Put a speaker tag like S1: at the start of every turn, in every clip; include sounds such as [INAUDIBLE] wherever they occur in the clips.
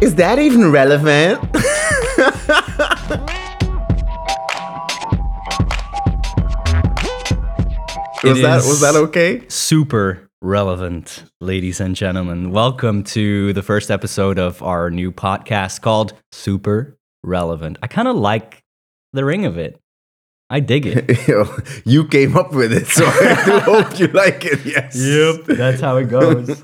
S1: Is that even relevant? [LAUGHS] was
S2: It
S1: that
S2: is
S1: was that [LAUGHS] okay?
S2: Super relevant, ladies and gentlemen. Welcome to the first episode of our new podcast called Super Relevant. I kind of like the ring of it. I dig it.
S1: [LAUGHS] you came up with it, so I [LAUGHS] do hope you like it. Yes.
S2: that's how
S1: [LAUGHS]
S2: it goes.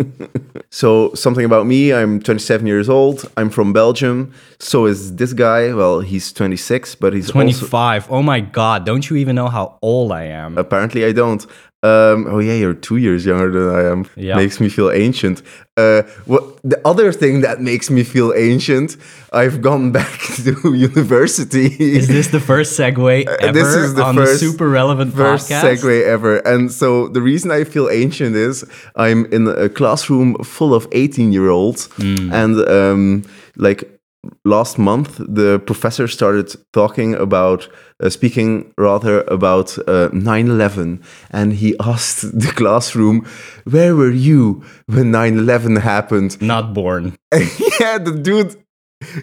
S1: So something about me. I'm 27 years old. I'm from Belgium. So is this guy. Well, he's 26, but he's also
S2: 25. Oh my god, don't you even know how old I am?
S1: apparently I don't. Um, oh yeah, you're two years younger than I am.
S2: Yeah.
S1: Makes me feel ancient. Uh, what the other thing that makes me feel ancient? I've gone [LAUGHS] back to university.
S2: Is this the first segue
S1: [LAUGHS]
S2: ever
S1: this is the
S2: on
S1: first-
S2: the super relevant
S1: first
S2: podcast?
S1: segue ever. And so the reason I feel ancient is I'm in a classroom full of 18 year olds,
S2: Hmm.
S1: and um, like last month the professor started talking about uh, speaking rather about uh, 9-11 and he [LAUGHS] asked the classroom where were you when 9-11 happened [LAUGHS]
S2: Not born.
S1: yeah the dude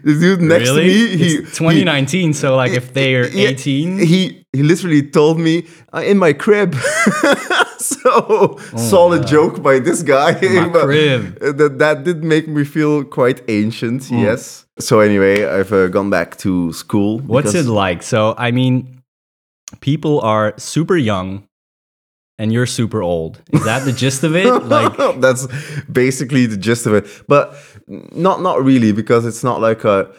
S1: the dude next
S2: really?
S1: to me he,
S2: it's
S1: he
S2: 2019, so like if they're
S1: yeah,
S2: 18,
S1: He he literally told me uh, in my crib. [LAUGHS]
S2: Oh
S1: so solid joke by this guy.
S2: my
S1: [LAUGHS] but uh,
S2: crib. Hmm.
S1: That that did make me feel quite ancient. Yes. So anyway, I've uh, gone back to school.
S2: What's
S1: [LAUGHS]
S2: it
S1: because-
S2: like? So, I mean, people are super young and you're super old. Is that the
S1: [LAUGHS]
S2: gist of it? Like,
S1: that's basically the gist of it. But not not really because it's not like a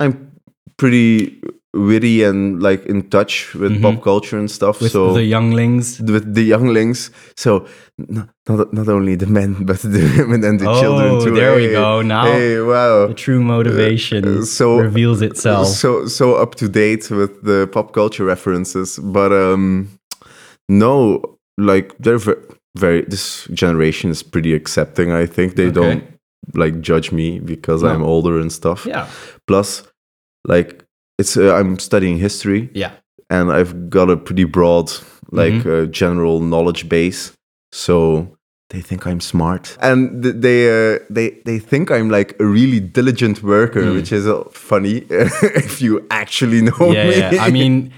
S1: I'm pretty witty and like in touch with pop culture and stuff.
S2: Mm-hmm. with
S1: so
S2: the younglings.
S1: with the younglings. So n- not not only the men, [LAUGHS] but the women and the children
S2: Oh,
S1: too.
S2: there we
S1: Hey,
S2: go. Now-
S1: hey, wow.
S2: The true motivation
S1: Uh, so-
S2: reveals itself.
S1: So so up to date with the pop culture references, but um, no, like they're very, very this generation is pretty accepting. I think they
S2: Okay.
S1: don't like judge me because
S2: No.
S1: I'm older and stuff.
S2: yeah.
S1: Plus, like it's uh, I'm studying history [LAUGHS]
S2: Yeah.
S1: and I've got a pretty broad, like,
S2: Mm-hmm.
S1: uh, general knowledge base. So they think I'm smart, and th- they uh, they they think I'm like a really diligent worker,
S2: Mm.
S1: which is uh, funny [LAUGHS] if you actually know
S2: Yeah.
S1: me.
S2: yeah. I mean,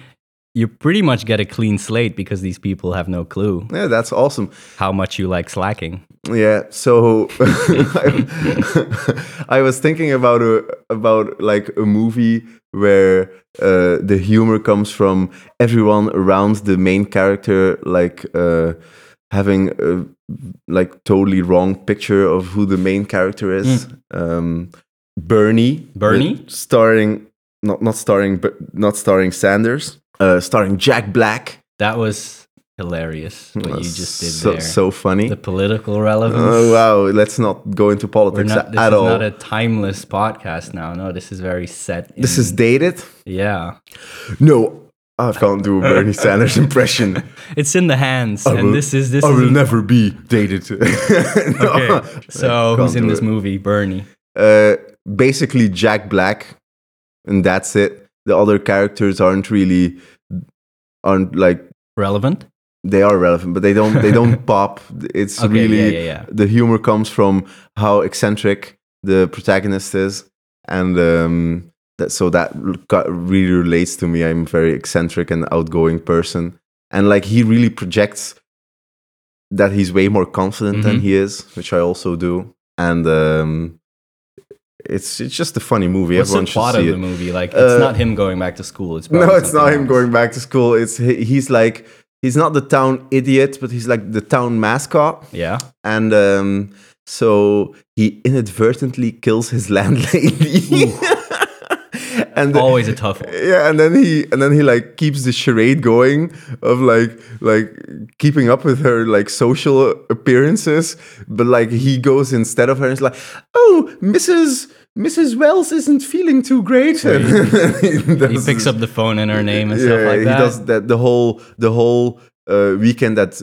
S2: you pretty much get a clean slate because these people have no clue
S1: [LAUGHS] Yeah, that's awesome.
S2: how much you like slacking.
S1: Yeah, so [LAUGHS] I, I was thinking about a about like a movie where uh, the humor comes from everyone around the main character, like uh, having a like totally wrong picture of who the main character is. Um, Bernie,
S2: Mm. Bernie?
S1: with- starring not not starring but not starring Sanders, uh, starring Jack Black.
S2: That was hilarious what you
S1: That's
S2: just did
S1: so,
S2: there.
S1: so funny.
S2: the political relevance.
S1: Oh wow! Let's not go into
S2: We're
S1: politics
S2: not, this
S1: at
S2: is
S1: all.
S2: not a timeless podcast now. No, this is very set. In,
S1: this is dated.
S2: yeah.
S1: No, I can't do a Bernie
S2: [LAUGHS]
S1: Sanders impression.
S2: It's in the hands,
S1: I
S2: and
S1: will-
S2: this is this.
S1: I
S2: is
S1: will never be dated. [LAUGHS]
S2: [LAUGHS] okay. So who's in this
S1: movie?
S2: movie? Bernie.
S1: Uh, basically, Jack Black, and that's it. The other characters aren't really aren't like
S2: Relevant.
S1: they are relevant, but they don't they
S2: [LAUGHS]
S1: don't pop. It's
S2: Okay,
S1: really
S2: yeah, yeah, yeah.
S1: the humor comes from how eccentric the protagonist is, and um, that so that l- got- really relates to me. I'm a very eccentric and outgoing person, and like he really projects that he's way more confident than
S2: Mhm.
S1: he is, which I also do, and um, it's it's just a funny movie.
S2: What's
S1: Everyone
S2: the plot
S1: should
S2: of
S1: see
S2: the
S1: it.
S2: movie? Like,
S1: Uh,
S2: it's not him going back to school.
S1: [LAUGHS]
S2: It's
S1: No,
S2: probably
S1: it's not
S2: something
S1: him
S2: else.
S1: going back to school. It's he, he's like he's not the town idiot, but he's like the town mascot, [LAUGHS]
S2: Yeah.
S1: and um, so he inadvertently kills his [LAUGHS] landlady. and the-
S2: Always a
S1: [LAUGHS]
S2: tough one.
S1: yeah, and then he and then he like keeps the charade going of like like keeping up with her like social appearances, but like he goes instead of her and is like, oh, Mrs. Mrs. Wells isn't feeling too great. [LAUGHS]
S2: He picks up the phone and her name and stuff like
S1: he
S2: that.
S1: does that the whole the whole uh, weekend at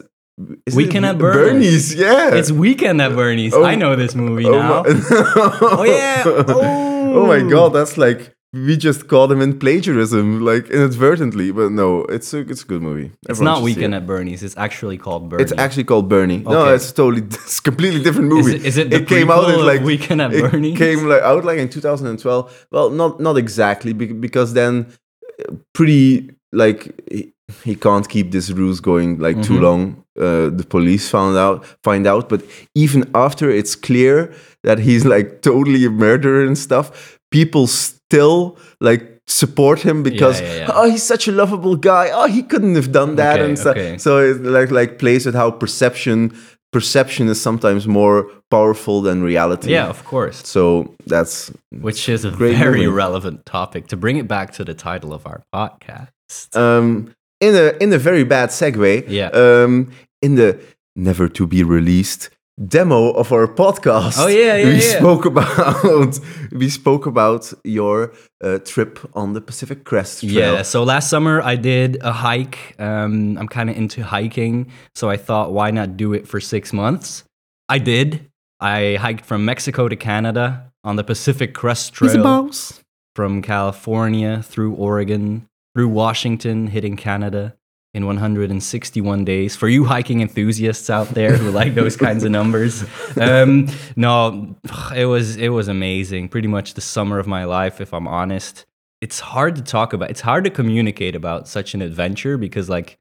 S1: is it
S2: Weekend at
S1: Bernie's.
S2: Bernie's.
S1: Yeah,
S2: It's weekend at
S1: Oh, [LAUGHS]
S2: Bernie's. I know this movie
S1: my-
S2: now.
S1: [LAUGHS]
S2: Oh yeah. Oh.
S1: Oh my god, that's like we just caught him in plagiarism, like inadvertently. But no, it's a it's a good movie.
S2: It's
S1: Everyone
S2: not
S1: should see
S2: Weekend
S1: it.
S2: at Bernie's. It's actually called Bernie.
S1: It's actually called Bernie. No,
S2: Okay.
S1: it's totally [LAUGHS] it's a completely different
S2: is
S1: movie.
S2: it, is it the prequel of Weekend at
S1: it
S2: Bernie's?
S1: came like out like in 2012. Well, not not exactly be- because then uh, pretty like he, he can't keep these rules going like
S2: Mm-hmm.
S1: too long. Uh, the police found out find out, but even after it's clear that he's like totally a murderer and stuff, people still like support him because
S2: yeah, yeah.
S1: oh he's such a lovable guy oh he couldn't have done that
S2: Okay,
S1: and stuff
S2: okay.
S1: so it like like plays with how perception perception is sometimes more powerful than reality
S2: yeah, of course.
S1: so that's
S2: Which is a
S1: Great
S2: very
S1: movie.
S2: relevant topic to bring it back to the title of our podcast.
S1: um, in a in a very bad segue.
S2: Yeah.
S1: Um, in the never to be released demo of our podcast.
S2: Oh, yeah, yeah,
S1: We
S2: yeah.
S1: spoke about we spoke about your uh, trip on the Pacific Crest Trail.
S2: Yeah, so last summer I did a hike. Um, I'm kind of into hiking, so I thought, why not do it for six months? I did. I hiked from Mexico to Canada on the Pacific Crest Trail.
S1: mouse.
S2: from California through Oregon, through Washington, hitting Canada in 161 days. For you hiking enthusiasts out there who like those kinds
S1: [LAUGHS]
S2: of numbers, um, no, it was it was amazing. Pretty much the summer of my life, if I'm honest. It's hard to talk about. It's hard to communicate about such an adventure because, like,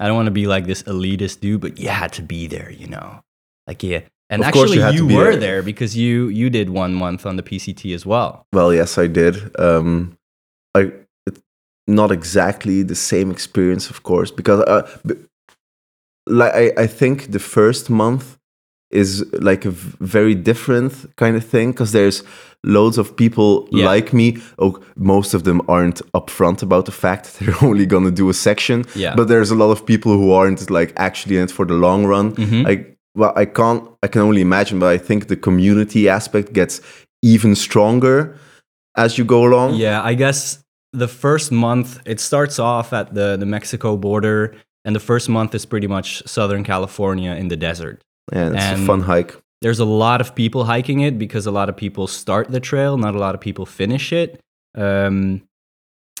S2: I don't want to be like this elitist dude, but you had to be there, you know. Like, yeah. And
S1: Of course
S2: actually,
S1: you had
S2: you,
S1: to be
S2: were
S1: there.
S2: there because you you did one month on the PCT as well.
S1: Well, yes, I did. Um, I it, not exactly the same experience, of course, because uh, b- like I, I think the first month is like a v- very different kind of thing because there's loads of people
S2: Yeah.
S1: like me. Oh, most of them aren't upfront about the fact they're [LAUGHS] only gonna do a section.
S2: Yeah.
S1: But there's a lot of people who aren't like actually in it for the long
S2: Mm-hmm.
S1: run.
S2: Hmm?
S1: I well, I can't. I can only imagine, but I think the community aspect gets even stronger as you go along.
S2: Yeah, I guess the first month it starts off at the the Mexico border, and the first month is pretty much Southern California in the desert.
S1: Yeah, it's
S2: And-
S1: a fun hike.
S2: There's a lot of people hiking it because a lot of people start the trail, not a lot of people finish it. Um,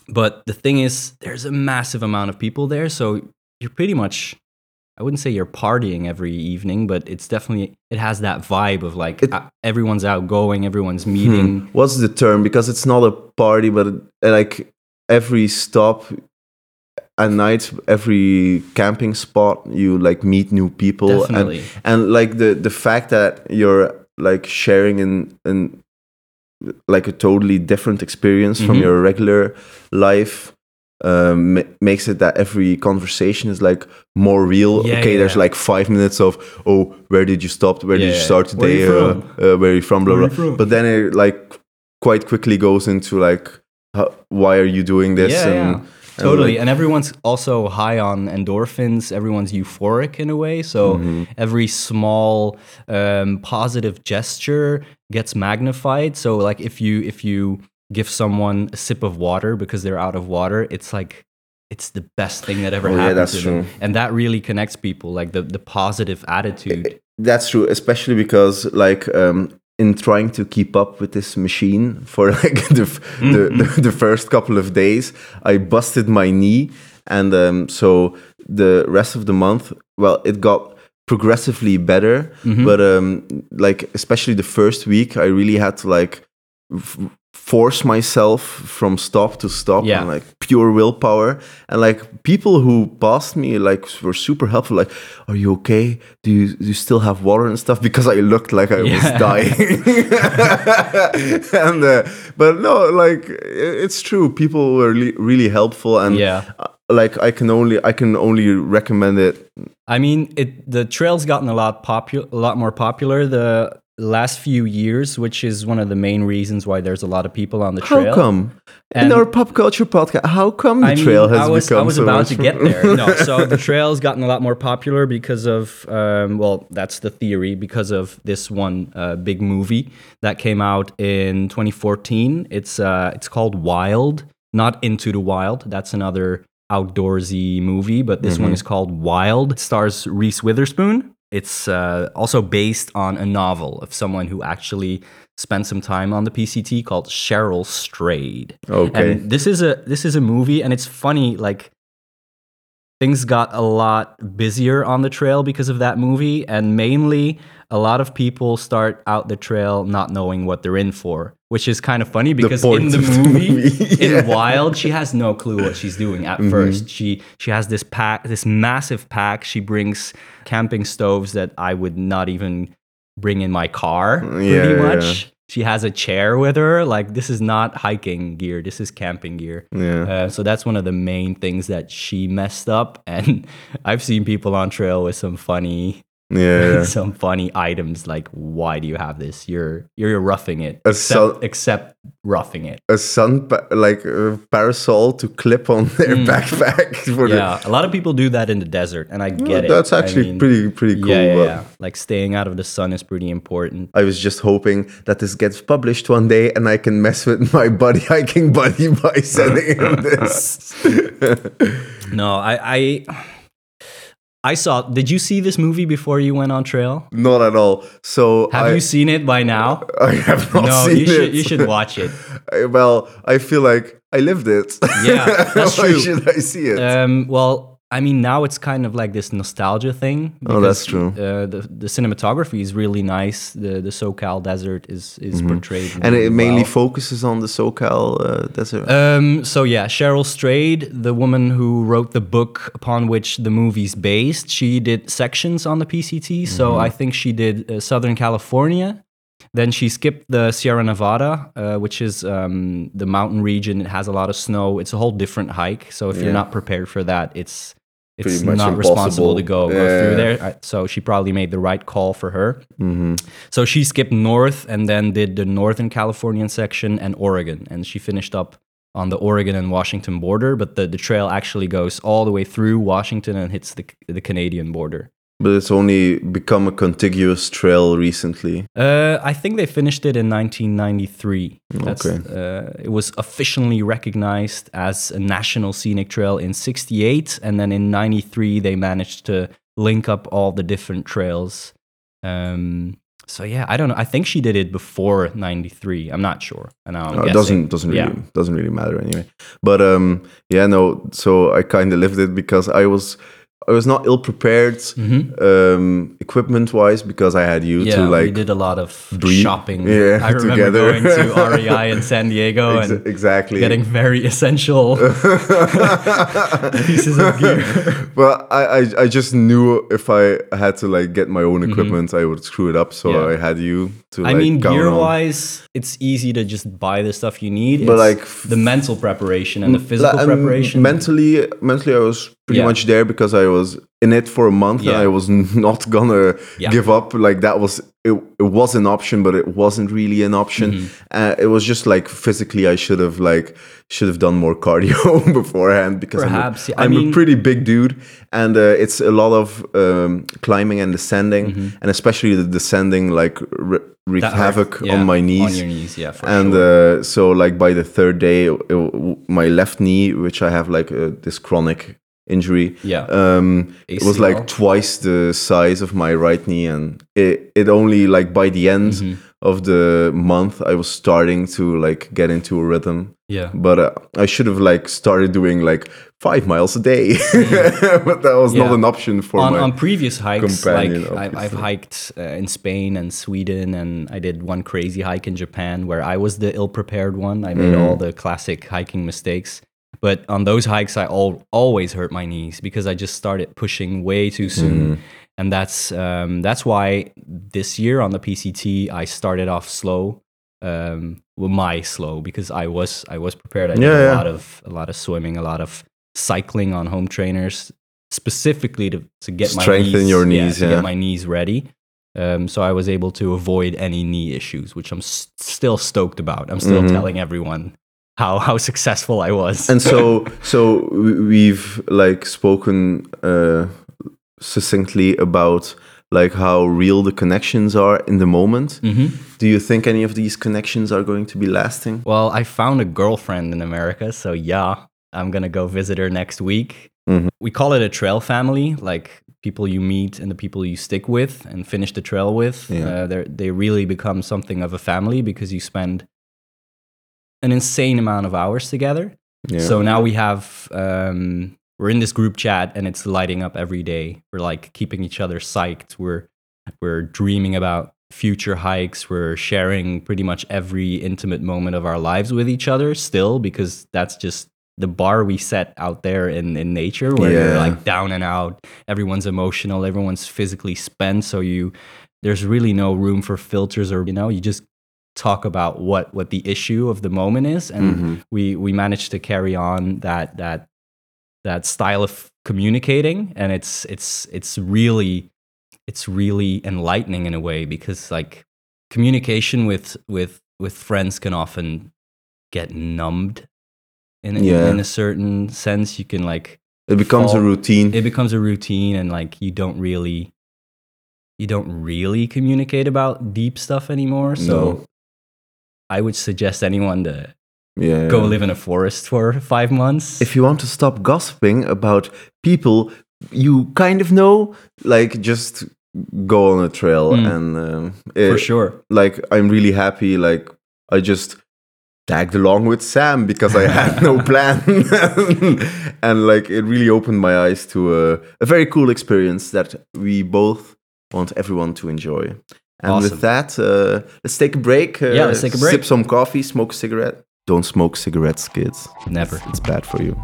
S2: but the thing is, there's a massive amount of people there, so you're pretty much. I wouldn't say you're partying every evening, but it's definitely it has that vibe of like
S1: It-
S2: uh, everyone's outgoing, everyone's meeting.
S1: Hmm. What's the term? Because it's not a party, but uh, like every stop at night, every camping spot, you like meet new people. and-
S2: Definitely.
S1: And, like the the fact that you're like sharing in in like a totally different experience from
S2: Mhm.
S1: your regular life um, ma- makes it that every conversation is like more real.
S2: Yeah,
S1: okay,
S2: yeah,
S1: there's
S2: yeah.
S1: like five minutes of oh, where did you stop? Where did
S2: Yeah.
S1: you start
S2: Where you
S1: today? Uh, uh, where are you from? Blah
S2: Where
S1: blah.
S2: you from?
S1: But then it like quite quickly goes into like how, why are you doing this?
S2: Yeah, yeah.
S1: and,
S2: Totally. And everyone's also high on endorphins. Everyone's euphoric in a way. So
S1: Mm-hmm.
S2: every small um, positive gesture gets magnified. So like if you if you give someone a sip of water because they're out of water, it's like it's the best thing that ever
S1: Oh, yeah,
S2: happened
S1: that's
S2: to
S1: true.
S2: them. And that really connects people, like the, the positive attitude.
S1: That's true, especially because like um, in trying to keep up with this machine for [LAUGHS] like the, f-
S2: Mm-hmm.
S1: the, the the first couple of days, I busted my knee, and um, so the rest of the month, well, it got progressively better,
S2: Mm-hmm.
S1: but um, like especially the first week, I really had to like f- force myself from stop to stop
S2: Yeah.
S1: and like pure willpower and like people who passed me like were super helpful like are you okay do you, do you still have water and stuff because i looked like i
S2: Yeah. [LAUGHS]
S1: was dying [LAUGHS] and uh, but no like i- it's true people were really, really helpful and
S2: Yeah.
S1: uh, like i can only i can only recommend it
S2: I mean, it the trail's gotten a lot popular, a lot more popular the last few years, which is one of the main reasons why there's a lot of people on the
S1: how
S2: trail.
S1: come in
S2: And-
S1: our pop culture podcast how come the
S2: I mean,
S1: trail has
S2: I was,
S1: become
S2: I was
S1: so
S2: about
S1: much
S2: to get there. No,
S1: [LAUGHS]
S2: so the trail's gotten a lot more popular because of, um, well, that's the theory, because of this one uh, big movie that came out in 2014. It's uh, it's called Wild, not Into the Wild. That's
S1: Mm-hmm.
S2: another outdoorsy movie, but this one is called Wild. It stars Reese Witherspoon. It's uh, also based on a novel of someone who actually spent some time on the PCT called Cheryl Strayed.
S1: Okay.
S2: And this is a this is a movie, and it's funny. Like things got a lot busier on the trail because of that movie, and mainly a lot of people start out the trail not knowing what they're in for, which is kind of funny because
S1: point
S2: in the
S1: of the [LAUGHS]
S2: movie,
S1: movie, yeah.
S2: in Wild, she has no clue what she's doing
S1: Mm-hmm.
S2: at first. She she has this pack, this massive pack. She brings camping stoves that I would not even bring in my car pretty
S1: yeah,
S2: much.
S1: yeah.
S2: She has a chair with her. Like this is not hiking gear. This is camping gear.
S1: yeah.
S2: Uh, so that's one of the main things that she messed up. [LAUGHS] And I've seen people on trail with some funny,
S1: yeah. yeah.
S2: [LAUGHS] some funny items. Like, why do you have this? You're you're roughing it.
S1: A
S2: except,
S1: sol-
S2: except roughing it.
S1: A sun, pa- like a parasol to clip on [LAUGHS] their backpack. [LAUGHS] For the-
S2: Hmm.
S1: Mm,
S2: Yeah, a lot of people do that in the desert, and I get it.
S1: That's
S2: I
S1: actually
S2: mean,
S1: pretty pretty cool. uh,
S2: yeah, yeah,
S1: but
S2: yeah. Like staying out of the sun is pretty important.
S1: I was just hoping that this gets published one day and I can mess with my buddy [LAUGHS] hiking buddy
S2: [LAUGHS]
S1: by sending him this. Mm.
S2: No, I, I, I saw. Did you see this movie before you went on trail?
S1: not at all. So
S2: Have
S1: I,
S2: you seen it by now?
S1: [LAUGHS] I have not
S2: No,
S1: seen
S2: you should
S1: it.
S2: you should
S1: [LAUGHS]
S2: watch it.
S1: I- well, I feel like I lived it. [LAUGHS]
S2: Yeah, that's
S1: Why
S2: true.
S1: should I see it?
S2: Um, well, I mean, now it's kind of like this nostalgia thing.
S1: Oh, that's
S2: because,
S1: true.
S2: Uh, the the cinematography is really nice. The the SoCal desert is is portrayed,
S1: Mm-hmm. and
S2: really
S1: it mainly
S2: well.
S1: focuses on the SoCal uh, desert.
S2: Um, so yeah, Cheryl Strayed, the woman who wrote the book upon which the movie's based, she did sections on the PCT. So I think she did uh, Southern California. Then she skipped the Sierra Nevada, uh, which is um, the mountain region. It has a lot of snow. It's a whole different hike. So if you're
S1: Yeah.
S2: not prepared for that, it's it's
S1: Pretty much
S2: not responsible to go,
S1: impossible.
S2: go
S1: Yeah.
S2: through there. I- So she probably made the right call for her.
S1: hmm
S2: So she skipped north and then did the Northern Californian section and Oregon. And she finished up on the Oregon and Washington border, but the, the trail actually goes all the way through Washington and hits the, the Canadian border.
S1: But it's only become a contiguous trail recently.
S2: Uh, I think they finished it in 1993. That's,
S1: Okay.
S2: uh, it was officially recognized as a national scenic trail in 68. And then in 93, they managed to link up all the different trails. Um, so yeah, I don't know. I think she did it before 93. I'm not sure. And now I'm
S1: No, Oh, Uh, it
S2: guessing.
S1: doesn't doesn't really doesn't really matter anyway. But um, yeah, no. So I kind of lived it because I was I was not ill prepared
S2: Mhm.
S1: um, equipment wise because I had you
S2: Yeah,
S1: to
S2: we
S1: like
S2: did a lot of
S1: breathe-
S2: shopping.
S1: yeah, [LAUGHS]
S2: I remember
S1: together.
S2: going
S1: [LAUGHS]
S2: to REI in San Diego
S1: ex-
S2: and
S1: exactly [LAUGHS]
S2: getting very essential [LAUGHS] pieces
S1: [LAUGHS]
S2: of gear.
S1: well, I, I I just knew if I had to like get my own equipment, I would screw it up. So
S2: Mm-hmm.
S1: I
S2: Yeah.
S1: had you to.
S2: I
S1: like,
S2: mean,
S1: count
S2: gear
S1: on.
S2: wise, it's easy to just buy the stuff you need.
S1: But,
S2: It's
S1: like, f-
S2: the mental preparation and the physical
S1: Like, um,
S2: preparation.
S1: Mentally, mentally, I was pretty
S2: Yeah.
S1: much there because I was in it for a month and
S2: Yeah.
S1: I was [LAUGHS] not gonna
S2: Yeah.
S1: give up. Like that was it, it. was an option, but it wasn't really an option.
S2: Mm-hmm.
S1: Uh, it was just like physically, I should have like should have done more cardio [LAUGHS] beforehand because I'm a-
S2: Perhaps, yeah. I
S1: I'm,
S2: mean-
S1: a pretty big dude, and uh, it's a lot of um, climbing and descending, and especially the descending like re- wreaked
S2: Mm-hmm. That hurt.
S1: havoc
S2: Yeah,
S1: on my knees
S2: On your knees, yeah. For
S1: and
S2: sure.
S1: uh, so like by the third day it- it- my left knee which i have like uh, this chronic injury
S2: yeah,
S1: um it was like
S2: ACL.
S1: twice the size of my right knee and it, it only like by the end
S2: Mm-hmm.
S1: of the month i was starting to like get into a rhythm
S2: yeah.
S1: but uh, i should have like started doing like five miles a day [LAUGHS] but that was not
S2: Mm-hmm. Yeah.
S1: an option for
S2: On,
S1: my
S2: on previous hikes, like
S1: companion,
S2: I, I've
S1: obviously.
S2: hiked uh, in Spain and Sweden, and I did one crazy hike in Japan where I was the ill-prepared one. I made
S1: Mm.
S2: all the classic hiking mistakes. But on those hikes, I all, always hurt my knees because I just started pushing way too
S1: Mm.
S2: soon, and that's um, that's why this year on the PCT I started off slow, um, well, my slow because I was I was prepared. I did
S1: Yeah,
S2: a
S1: yeah.
S2: lot of a lot of swimming, a lot of cycling on home trainers, specifically to, to get
S1: Strengthen
S2: my knees,
S1: your knees,
S2: to
S1: yeah.
S2: get my knees ready. Um, so I was able to avoid any knee issues, which I'm s- still stoked about. I'm still
S1: Mhm.
S2: telling everyone how how successful I was.
S1: and
S2: [LAUGHS]
S1: so [LAUGHS] so we- we've like spoken uh, succinctly about like how real the connections are in the moment
S2: Mhm.
S1: do you think any of these connections are going to be lasting
S2: Well, I found a girlfriend in America, so yeah, I'm gonna go visit her next week.
S1: Mhm.
S2: We call it a trail family, like people you meet and the people you stick with and finish the trail with.
S1: Yeah.
S2: Uh, they're- they really become something of a family because you spend an insane amount of hours together.
S1: Yeah.
S2: So now we have um, we're in this group chat and it's lighting up every day. We're like keeping each other psyched. We're we're dreaming about future hikes. We're sharing pretty much every intimate moment of our lives with each other still because that's just the bar we set out there in, in nature where you're
S1: Yeah.
S2: like down and out. Everyone's emotional, everyone's physically spent, so you there's really no room for filters or you know, you just talk about what what the issue of the moment is and
S1: Mhm.
S2: we we managed to carry on that that that style of communicating and it's it's it's really it's really enlightening in a way because like communication with with with friends can often get numbed in, in-
S1: Yeah.
S2: in a certain sense you can like
S1: it becomes a
S2: fall-
S1: routine.
S2: it becomes a routine and like you don't really you don't really communicate about deep stuff anymore so
S1: No.
S2: i would suggest anyone to
S1: yeah.
S2: go live in a forest for five months
S1: if you want to stop gossiping about people you kind of know, like just go on a trail
S2: Mm.
S1: and um,
S2: for
S1: it-
S2: sure
S1: like I'm really happy. Like I just tagged along with Sam because I had
S2: [LAUGHS]
S1: no plan, [LAUGHS] and like it really opened my eyes to a, a very cool experience that we both want everyone to enjoy. And
S2: Awesome.
S1: with that, uh, let's take a break. Uh,
S2: Yeah, let's take a break.
S1: Sip some coffee, smoke a cigarette. Don't smoke cigarettes, kids.
S2: Never.
S1: It's bad for you.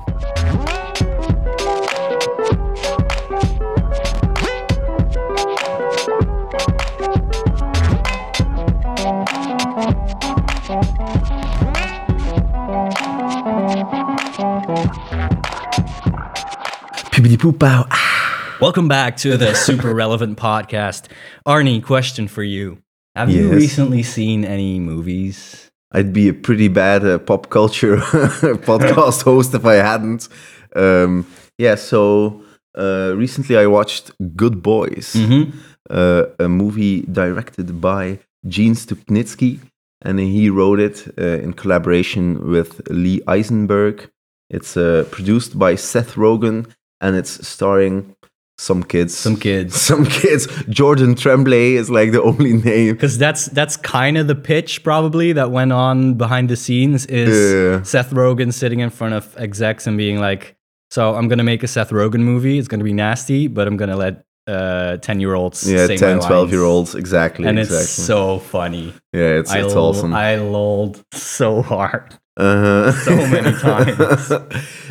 S1: Peepity poop pow. Ah,
S2: Welcome back to the Super Relevant Podcast. Arnie, question for you. Have you
S1: Yes.
S2: recently seen any movies?
S1: I'd be a pretty bad uh, pop culture [LAUGHS]
S2: [LAUGHS]
S1: podcast host if I hadn't. Um, yeah, so uh, recently I watched Good Boys.
S2: Mm-hmm.
S1: uh, a movie directed by Gene Stupnitsky, and he wrote it uh, in collaboration with Lee Eisenberg. It's uh, produced by Seth Rogen, and it's starring some kids.
S2: Some kids.
S1: [LAUGHS] Some kids. Jordan Tremblay is like the only name.
S2: Because that's that's kind of the pitch probably that went on behind the scenes is
S1: Yeah.
S2: Seth Rogen sitting in front of execs and being like, "So I'm gonna make a Seth Rogen movie. It's gonna be nasty, but I'm gonna let uh, ten year olds
S1: Yeah,
S2: say
S1: 10,
S2: my
S1: 12
S2: lines."
S1: year olds, exactly.
S2: and
S1: exactly.
S2: it's so funny.
S1: yeah, it's, it's
S2: I, lol-
S1: awesome.
S2: I lolled so [LAUGHS] hard.
S1: Uh-huh.
S2: So
S1: [LAUGHS]
S2: many times.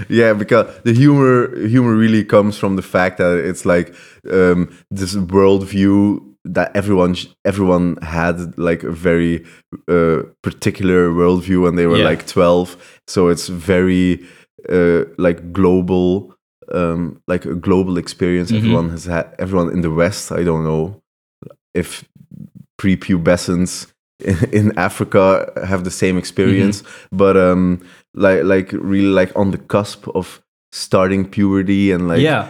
S1: yeah, because the humor humor really comes from the fact that it's like um, this worldview that everyone sh- everyone had like a very uh, particular worldview when they were
S2: Yeah.
S1: like twelve. So it's very uh, like global, um, like a global experience.
S2: Mhm.
S1: Everyone has had everyone in the West. I don't know if prepubescents [LAUGHS] in Africa have the same experience,
S2: Mm-hmm.
S1: but um, like like really like on the cusp of starting puberty and like
S2: yeah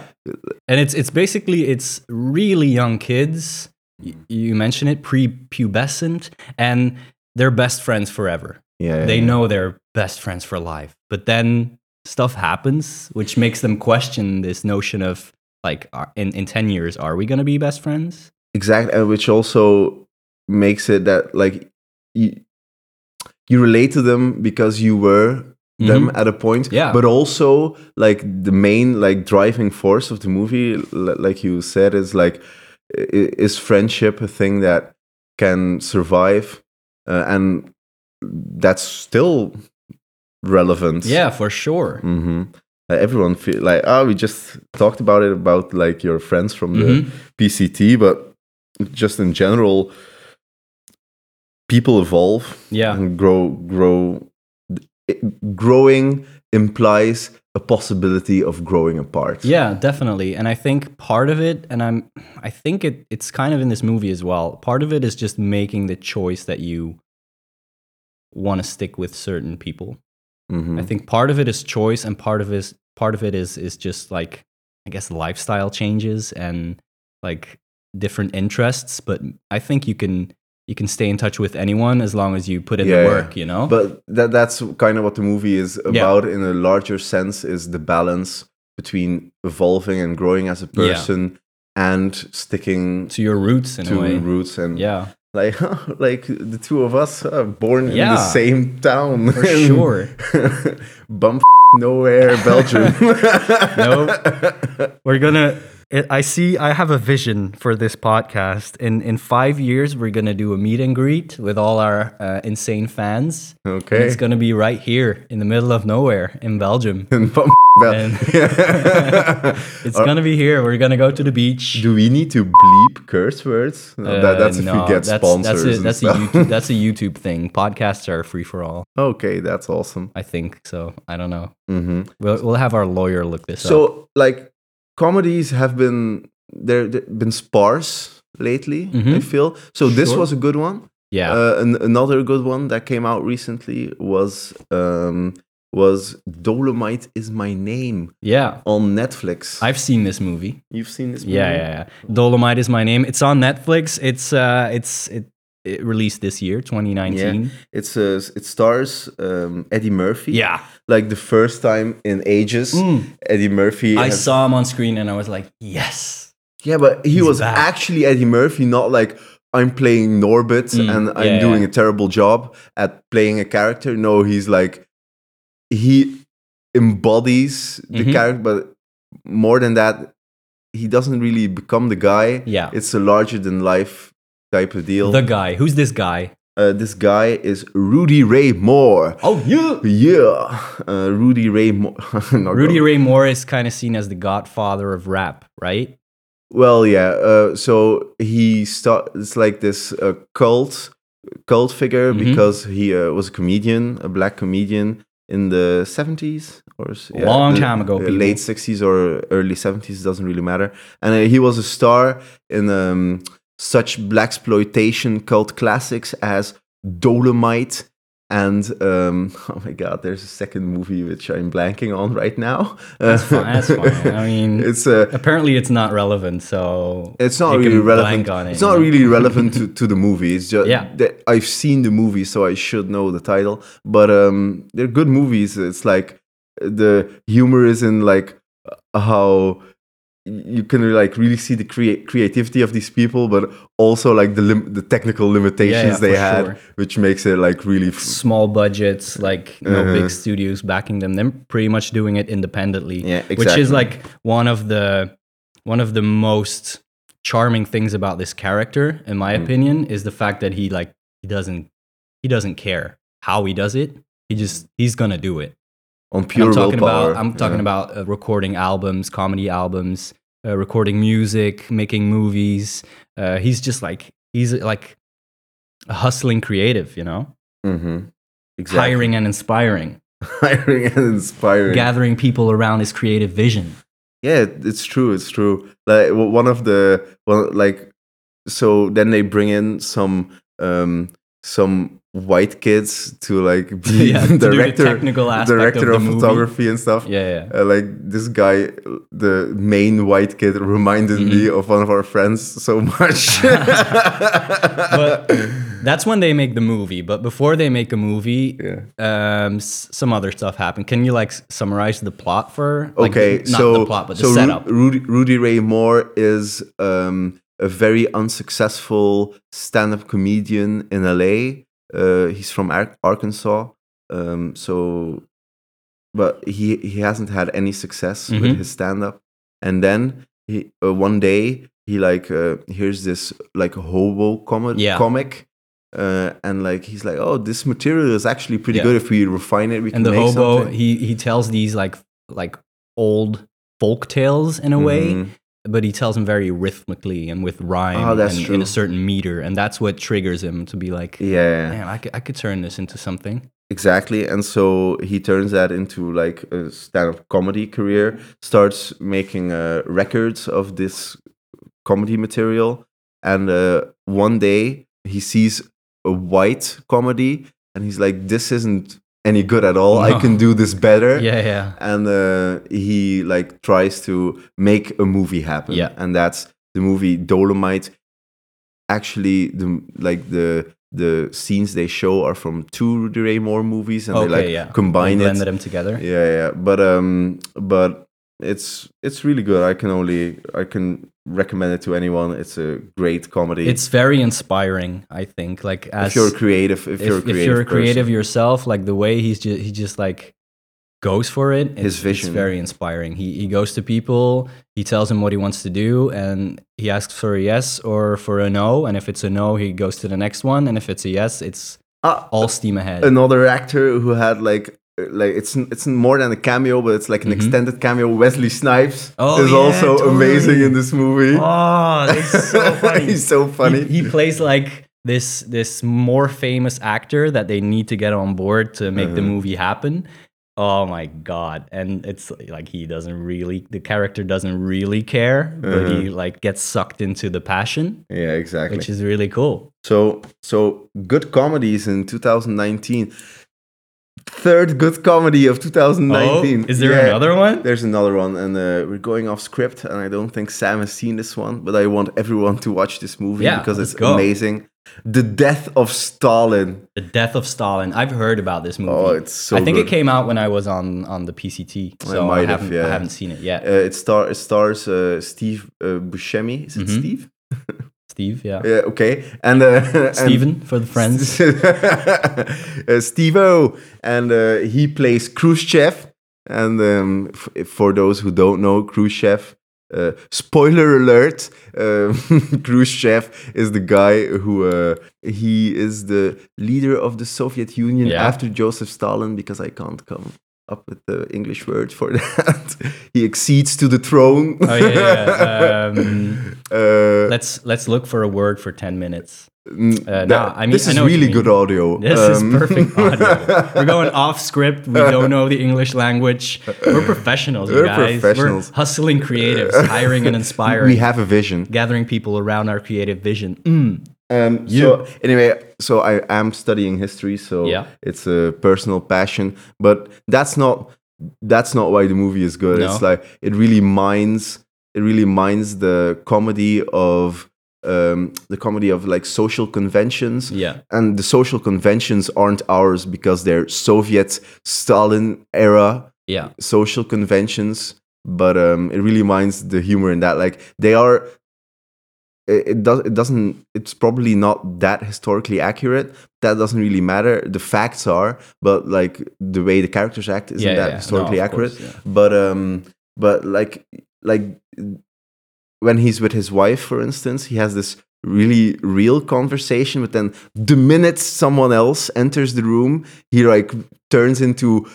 S2: and it's it's basically it's really young kids y- you mention it prepubescent and they're best friends forever
S1: yeah
S2: they
S1: yeah.
S2: know they're best friends for life but then stuff happens which makes them question this notion of like are- in, in 10 years are we going to be best friends
S1: exactly, and uh, which also makes it that like you you relate to them because you were
S2: Mm-hmm.
S1: them at a point
S2: Yeah.
S1: but also like the main like driving force of the movie l- like you said is like i- is friendship a thing that can survive uh, and that's still relevant
S2: yeah for sure
S1: hmm everyone feel like oh we just talked about it about like your friends from
S2: Mhm.
S1: the pct but just in general people evolve
S2: yeah
S1: and grow grow it- growing implies a possibility of growing apart
S2: yeah definitely and i think part of it and i'm i think it it's kind of in this movie as well part of it is just making the choice that you want to stick with certain people
S1: Mhm.
S2: I think part of it is choice, and part of is part of it is is just like I guess lifestyle changes and like different interests. But I think you can you can stay in touch with anyone as long as you put in
S1: Yeah,
S2: the
S1: yeah.
S2: work. You know.
S1: but that that's kind of what the movie is
S2: Yeah.
S1: about in a larger sense is the balance between evolving and growing as a person and sticking
S2: to your roots in a way.
S1: to roots and
S2: Yeah,
S1: [LAUGHS] like like the two of us are born in the
S2: Yeah.
S1: same town [LAUGHS]
S2: for sure.
S1: bum [LAUGHS] nowhere
S2: [LAUGHS]
S1: belgium
S2: No. We're gonna. It, I see. I have a vision for this podcast. In in five years, we're gonna do a meet and greet with all our uh, insane fans.
S1: [LAUGHS]
S2: And
S1: okay
S2: It's gonna be right here in the middle of nowhere in Belgium.
S1: And [LAUGHS] bum Bel-
S2: It's
S1: Uh,
S2: gonna be here. We're gonna go to the beach.
S1: do we need to bleep curse words No, that,
S2: Uh,
S1: that's if
S2: no,
S1: we get
S2: that's,
S1: sponsors
S2: That's a,
S1: and
S2: that's, a
S1: stuff.
S2: YouTube, that's a YouTube thing. Podcasts are free for all.
S1: [LAUGHS] okay that's awesome
S2: I think so. I don't know.
S1: hmm
S2: We'll, we'll have our lawyer look this up.
S1: So, like, comedies have been they're, they've been sparse lately. I
S2: Mhm.
S1: feel so. This
S2: Sure.
S1: was a good one.
S2: Yeah.
S1: Uh, an, another good one that came out recently was um, was Dolomite is my name
S2: yeah.
S1: on Netflix.
S2: I've seen this movie.
S1: You've seen this? Movie?
S2: Yeah, yeah, yeah. Dolomite is my name. It's on Netflix. It's uh, it's it, it released this year, 2019.
S1: It's uh, it stars um, Eddie Murphy.
S2: Yeah,
S1: like the first time in ages,
S2: Mm.
S1: Eddie Murphy.
S2: I
S1: has-
S2: saw him on screen and I was like, yes.
S1: Yeah, but he
S2: He's
S1: was
S2: back.
S1: actually Eddie Murphy, not like I'm playing Norbit
S2: Mm,
S1: and I'm
S2: yeah,
S1: doing
S2: yeah.
S1: a terrible job at playing a character. No, he's like he embodies the
S2: Mhm.
S1: character, but more than that, he doesn't really become the guy.
S2: Yeah.
S1: It's a larger than life type of deal.
S2: The guy. Who's this guy?
S1: uh, this guy is Rudy Ray Moore.
S2: Oh, you.
S1: Yeah, uh, Rudy Ray [LAUGHS] Moore.
S2: Rudy Ray Moore is kind of seen as the godfather of rap,
S1: [LAUGHS]
S2: right?
S1: Well, yeah. Uh, so he start. It's like this uh, cult cult figure
S2: Mhm.
S1: because he uh, was a comedian, a black comedian in the seventies or s- yeah,
S2: Long
S1: the-
S2: time ago,
S1: uh,
S2: people.
S1: late sixties or early seventies. Doesn't really matter. And uh, he was a star in um, such black exploitation cult classics as Dolomite. And um, [LAUGHS] oh my God, there's a second movie which I'm blanking on right now. That's
S2: Well, Oh, that's fine. I mean,
S1: [LAUGHS] it's uh,
S2: apparently it's not relevant. So
S1: it's not
S2: you
S1: really
S2: can
S1: relevant.
S2: blank on it,
S1: it's
S2: you
S1: not
S2: know? [LAUGHS]
S1: really relevant to, to the movie. It's just
S2: Yeah.
S1: that I've seen the movie, so I should know the title. But um, they're good movies. It's like uh, the humor is in like uh, how you can like really see the crea- creativity of these people, but also like the lim- the technical limitations they
S2: for
S1: had,
S2: sure.
S1: which makes it like really f-
S2: small budgets, like no
S1: Uh-huh.
S2: big studios backing them. They're pretty much doing it independently,
S1: Yeah,
S2: which
S1: exactly.
S2: is like one of the one of the most charming things about this character, in my
S1: Hmm.
S2: opinion, is the fact that he like he doesn't he doesn't care how he does it. He just he's gonna do it.
S1: on
S2: And
S1: pure
S2: I'm talking
S1: willpower.
S2: about I'm talking
S1: Yeah.
S2: about uh, recording albums, comedy albums, uh, recording music, making movies. Uh, he's just like he's like a hustling creative, you know,
S1: Mhm. Exactly.
S2: hiring and inspiring.
S1: [LAUGHS] hiring and inspiring.
S2: gathering people around his creative
S1: [LAUGHS]
S2: vision.
S1: Yeah, it- it's true. It's true. Like w- one of the well, like so then they bring in some um some white kids to like [LAUGHS] be
S2: yeah, to do the
S1: director
S2: technical aspect
S1: director
S2: of,
S1: of,
S2: the movie.
S1: photography and stuff.
S2: Yeah, yeah.
S1: Uh, like this guy, the main white kid, reminded me
S2: Mm-hmm.
S1: of one of our friends so much.
S2: [LAUGHS] But
S1: [LAUGHS]
S2: that's when they make the movie. But before they make a movie,
S1: yeah.
S2: um, s- some other stuff happened. Can you like s- summarize the plot for? Like,
S1: Okay,
S2: the- not
S1: so
S2: the plot, but the
S1: so Ru-
S2: setup.
S1: Rudy, Rudy Ray Moore is um, a very unsuccessful stand-up comedian in LA. Uh, he's from Ar- Arkansas, um, so but he he hasn't had any success with
S2: Mhm.
S1: his stand-up. And then he uh, one day he like uh, hears this like hobo comic
S2: Yeah.
S1: comic. Uh, and like he's like, oh, this material is actually pretty
S2: Yeah.
S1: good. If we refine it, we can
S2: and the
S1: make
S2: hobo,
S1: something.
S2: he he tells these like like old folk tales in a way,
S1: Mhm.
S2: but he tells them very rhythmically and with rhyme
S1: Oh, that's
S2: and
S1: true.
S2: in a certain meter, and that's what triggers him to be like,
S1: yeah.
S2: man, I could, I could turn this into something.
S1: Exactly, and so he turns that into like a stand-up comedy career. Starts making uh, records of this comedy material, and uh, one day he sees a white comedy, and he's like, "This isn't any good at all. I
S2: No.
S1: can do this better."
S2: Yeah, yeah.
S1: And uh, he like tries to make a movie happen,
S2: Yeah.
S1: and that's the movie Dolomite. Actually, the like the the scenes they show are from two Rudy Ray Moore movies, and they like
S2: yeah.
S1: combine
S2: They
S1: it.
S2: blended them together.
S1: Yeah, yeah. But um, but it's it's really good. I can only I can recommend it to anyone. It's a great comedy.
S2: It's very inspiring, I think. Like as
S1: if you're creative, if,
S2: if-
S1: you're a creative,
S2: if you're a
S1: person.
S2: creative yourself, like the way he's just, he just like goes for it. It's,
S1: His vision.
S2: It's very inspiring. He he goes to people. He tells them what he wants to do, and he asks for a yes or for a no. And if it's a no, he goes to the next one. And if it's a yes, it's
S1: Ah,
S2: all steam ahead.
S1: another actor who had like uh, like it's it's more than a cameo, but it's like an extended cameo. Wesley Snipes
S2: Mm-hmm. Oh,
S1: is
S2: yeah,
S1: also amazing
S2: totally.
S1: in this movie.
S2: oh, it's
S1: [LAUGHS]
S2: so funny.
S1: He's so funny.
S2: He, he plays like this this more famous actor that they need to get on board to make the
S1: Uh-huh.
S2: movie happen. Oh my god! And it's like he doesn't really the character doesn't really care, but he
S1: Uh-huh.
S2: like gets sucked into the passion,
S1: yeah, exactly.
S2: which is really cool.
S1: So so good comedies in 2019. Third good comedy of 2019.
S2: Oh, is there
S1: Yeah.
S2: another one?
S1: There's another one, and uh, we're going off script, and I don't think Sam has seen this one, but I want everyone to watch this movie
S2: Yeah,
S1: because
S2: let's
S1: it's
S2: go.
S1: amazing. The Death of Stalin.
S2: The Death of Stalin. I've heard about this movie.
S1: Oh, it's so.
S2: I think
S1: good.
S2: it came out when I was on on the PCT, so I
S1: might have,
S2: haven't I
S1: yeah.
S2: haven't seen it yet.
S1: Uh, it, star, it stars uh, Steve uh, Buscemi. Is it
S2: Mhm.
S1: Steve?
S2: Steve, yeah,
S1: Yeah, okay. And uh, [LAUGHS] and-
S2: Steven for the
S1: [LAUGHS]
S2: friends.
S1: uh, Steve O. And uh, he plays Khrushchev. And um, f- for those who don't know, Khrushchev, uh, spoiler alert, um, [LAUGHS] Khrushchev is the guy who uh, he is the leader of the Soviet Union
S2: Yeah.
S1: after Joseph Stalin, because I can't come up with the English word for [LAUGHS] that. he accedes to the throne.
S2: Oh yeah, yeah, yeah. Um,
S1: Uh,
S2: let's let's look for a word for 10 minutes
S1: Mm,
S2: Uh,
S1: that-
S2: nah, I mean-
S1: this
S2: I
S1: is
S2: know what you
S1: really
S2: mean.
S1: good audio.
S2: this
S1: Um,
S2: is
S1: [LAUGHS]
S2: perfect audio we're going off script we don't know the english language
S1: [LAUGHS]
S2: we're professionals you
S1: We're
S2: guys
S1: professionals.
S2: we're hustling
S1: [LAUGHS]
S2: creatives hiring and inspiring
S1: we have a vision.
S2: gathering people around our creative vision Mm.
S1: Um, So anyway, so I am studying history, so
S2: Yeah.
S1: it's a personal passion. But that's not that's not why the movie is good.
S2: No.
S1: It's like it really mines it really mines the comedy of um, the comedy of like social conventions.
S2: yeah
S1: and the social conventions aren't ours because they're Soviet Stalin era
S2: yeah
S1: social conventions. But um, it really minds the humor in that. Like they are, it, it does. It doesn't. It's probably not that historically accurate. That doesn't really matter. The facts are, but like the way the characters act isn't
S2: yeah,
S1: that
S2: yeah. No,
S1: historically
S2: of
S1: accurate
S2: course, yeah.
S1: but um but like like when he's with his wife for instance he has this really real conversation but then the minute someone else enters the room he like turns into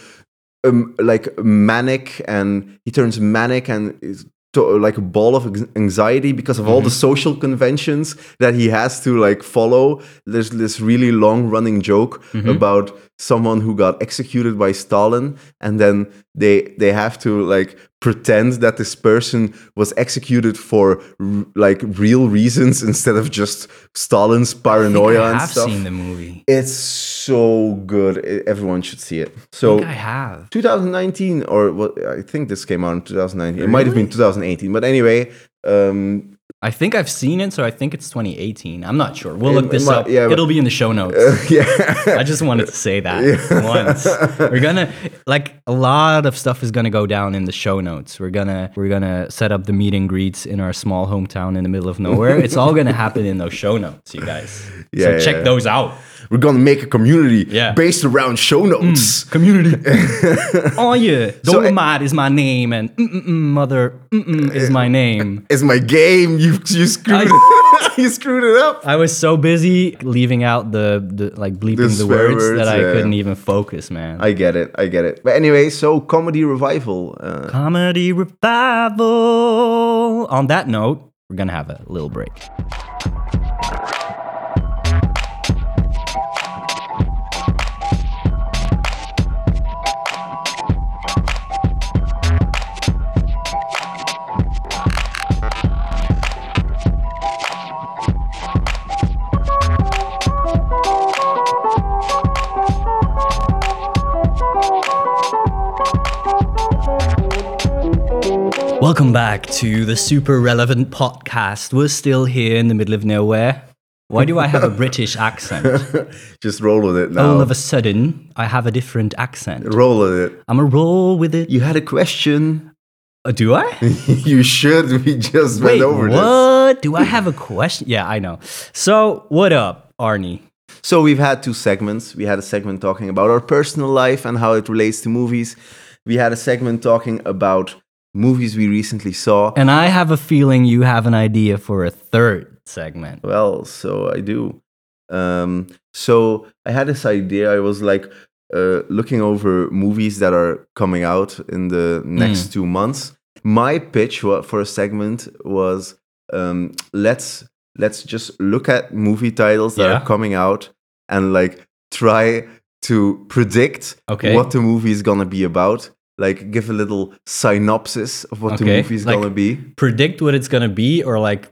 S1: um like manic and he turns manic and is to, like a ball of anx- anxiety because of all the
S2: Mm-hmm.
S1: social conventions that he has to like follow there's this really long running joke
S2: Mm-hmm.
S1: about someone who got executed by Stalin and then they they have to like pretend that this person was executed for r- like real reasons [LAUGHS] instead of just Stalin's paranoia
S2: I
S1: and
S2: have
S1: stuff.
S2: seen the movie
S1: It's so good. E- Everyone should see it.
S2: I
S1: So
S2: think i have
S1: 2019 or what I think this came out in 2019. It might have been 2018, but anyway, um
S2: i think i've seen it so i think it's 2018 i'm not sure we'll
S1: It-
S2: look
S1: it
S2: this
S1: might-
S2: up
S1: yeah, but-
S2: it'll be in the show notes
S1: [LAUGHS] yeah.
S2: I just wanted to say that once. We're gonna like a lot of stuff is gonna go down in the show notes. We're gonna we're gonna set up the meet and greets in our small hometown in the middle of nowhere. it's all gonna happen in those show notes, you guys. so
S1: Yeah,
S2: check
S1: yeah.
S2: those out.
S1: We're going to make a community
S2: Yeah. Hmm.
S1: based around show notes.
S2: Community.
S1: [LAUGHS]
S2: oh yeah.
S1: So, uh,
S2: Dolomite is my name and mm-mm-mm, mother mm-mm is my name.
S1: It's my game. You you screwed [LAUGHS] you screwed it up.
S2: I was so busy leaving out the, the like bleeping the,
S1: swear
S2: words,
S1: words,
S2: that I
S1: yeah.
S2: couldn't even focus, man.
S1: I get it. I get it. But anyway, so comedy revival. Uh, [LAUGHS]
S2: Comedy Revival. On that note, we're going to have a little break. Welcome back to the Super Relevant Podcast. We're still here in the middle of nowhere. Why do I have
S1: [LAUGHS]
S2: a British accent?
S1: just roll with it now.
S2: All of a sudden, I have a different accent.
S1: roll with it.
S2: I'm a roll with it.
S1: You had a question. [LAUGHS]
S2: Uh, do I?
S1: you should. We just went
S2: Wait,
S1: over this.
S2: what? Do I have a question? Yeah, I know. So, what up, Arnie?
S1: So we've had two segments. We had a segment talking about our personal life and how it relates to movies. We had a segment talking about movies we recently saw.
S2: And I have a feeling you have an idea for a third segment.
S1: Well, so I do. Um, so I had this idea. I was like uh, looking over movies that are coming out in the next two months. My pitch wa- for a segment was um, let's let's just look at movie titles that
S2: Yeah.
S1: are coming out and like try to predict
S2: Okay.
S1: what the movie is gonna be about. Like give a little synopsis of what the
S2: Okay,
S1: movie is
S2: like-
S1: gonna be.
S2: Predict what it's gonna be, or like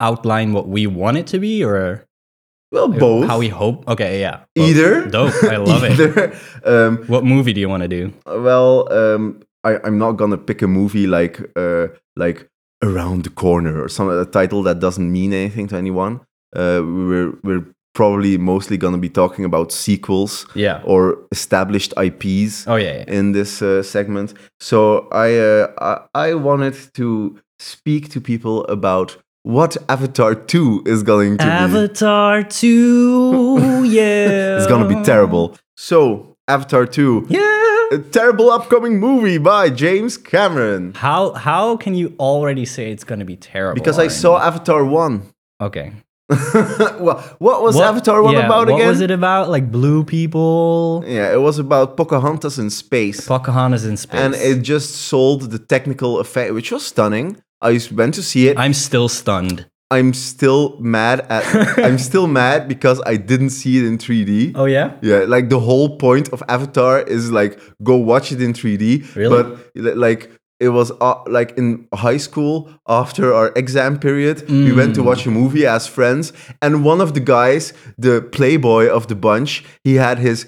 S2: outline what we want it to be, or
S1: Well, both.
S2: how we hope. Okay, yeah. Both.
S1: Either
S2: Dope. I love
S1: [LAUGHS]
S2: it.
S1: Either. Um,
S2: What movie do you want to do?
S1: Well, um, I, I'm not gonna pick a movie like uh, like Around the Corner or some a title that doesn't mean anything to anyone. Uh, we're we're probably mostly gonna be talking about sequels
S2: Yeah.
S1: or established IPs
S2: Oh yeah. yeah.
S1: in this uh, segment. So I, uh, I I wanted to speak to people about what Avatar Two is going to be.
S2: Avatar
S1: [LAUGHS]
S2: two. Yeah.
S1: It's gonna be terrible. So Avatar Two.
S2: Yeah.
S1: A terrible upcoming movie by James Cameron.
S2: How how can you already say it's gonna be terrible?
S1: Because I
S2: Arnie?
S1: saw Avatar [LAUGHS] 1.
S2: Okay.
S1: well, what was Avatar 1
S2: yeah,
S1: about
S2: what
S1: again?
S2: was it about? Like blue people,
S1: Yeah, it was about Pocahontas in space.
S2: Pocahontas in space.
S1: and it just sold the technical effect, which was stunning. I s- went to see it.
S2: I'm still stunned.
S1: I'm still mad at.
S2: [LAUGHS]
S1: I'm still mad because I didn't see it in 3D.
S2: Oh yeah.
S1: Yeah, like the whole point of Avatar is like go watch it in 3D.
S2: Really?
S1: But li- like it was uh, like in high school after our exam period, we
S2: Mm.
S1: went to watch a movie as friends, and one of the guys, the playboy of the bunch, he had his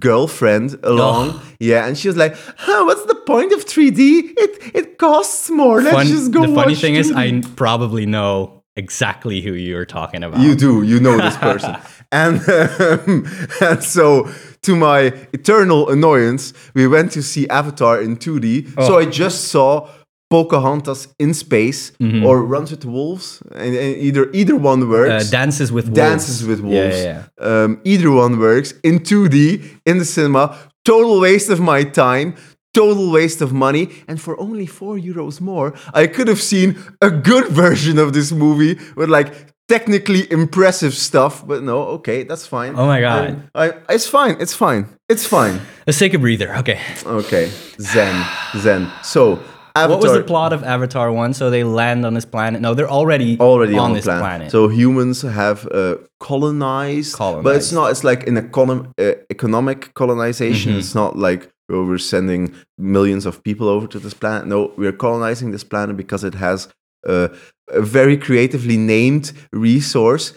S1: girlfriend along.
S2: Oh.
S1: Yeah, and she was like, "Huh, what's the point of 3D? It it costs more. Let's
S2: Fun-
S1: just go
S2: the funny
S1: watch
S2: thing is,
S1: 3D."
S2: I probably know exactly who you're talking about.
S1: You do. You know this person. and, um, [LAUGHS] and so, to my eternal annoyance, we went to see Avatar in 2D. So I just saw Pocahontas in space or Runs with the Wolves, and, and either either one
S2: uh,
S1: works.
S2: dances with
S1: Dances
S2: wolves.
S1: with Wolves.
S2: Yeah, yeah,
S1: Um, either one works in 2D in the cinema. Total waste of my time. Total waste of money. And for only four euros more, I could have seen a good [LAUGHS] version of this movie with like technically impressive stuff. But no, okay, that's fine.
S2: Oh my God.
S1: Um, I, it's fine. It's fine. It's fine.
S2: yeah. Let's take a breather. Okay.
S1: Okay, zen, zen. So Avatar.
S2: What was the plot of Avatar One? So they land on this planet. No, they're already
S1: already on, the
S2: this
S1: planet.
S2: planet.
S1: So humans have uh, colonized, but it's
S2: Colonized.
S1: not. It's like an econom- uh, economic colonization. It's not like oh, we're sending millions of people over to this planet. No, we're colonizing this planet because it has uh, a very creatively named resource,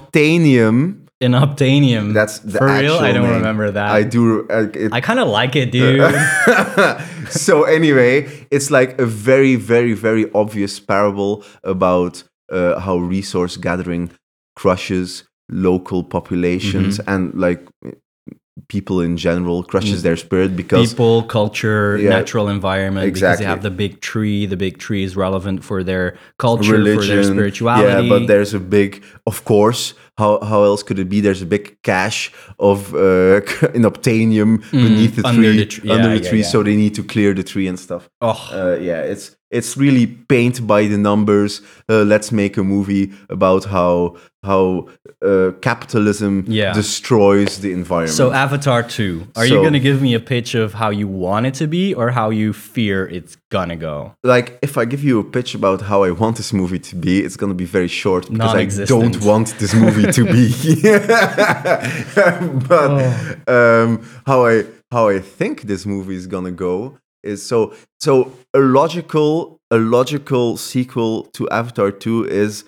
S1: inobtanium.
S2: in Obtanium.
S1: That's the
S2: for real.
S1: actual
S2: I don't
S1: name.
S2: remember that.
S1: I do. Uh, it,
S2: I kind of like it, dude.
S1: [LAUGHS] so anyway, it's like a very, very, very obvious parable about uh, how resource gathering crushes local populations and like people in general crushes their spirit because
S2: people, culture,
S1: Yeah.
S2: natural environment. Because
S1: Exactly.
S2: they have the big tree. The big tree is relevant for their culture, for their
S1: yeah
S2: spirituality.
S1: but there's a big of course how how else could it be there's a big cache of uh [LAUGHS] inobtanium beneath the
S2: Mm, under
S1: tree
S2: the tr-
S1: under
S2: yeah,
S1: the
S2: yeah,
S1: tree
S2: yeah.
S1: so they need to clear the tree and stuff
S2: oh,
S1: uh, yeah, it's it's really paint by the numbers. Uh, let's make a movie about how how uh, capitalism
S2: Yeah.
S1: destroys the environment.
S2: so Avatar Two. Are you
S1: So-
S2: gonna give me a pitch of how you want it to be, or how you fear it's gonna go?
S1: like, if I give you a pitch about how I want this movie to be, it's gonna be very short because I
S2: Non-existent.
S1: don't want this movie to be. [LAUGHS] but
S2: Oh.
S1: um, how I how I think this movie is gonna go is so so a logical a logical sequel to Avatar Two is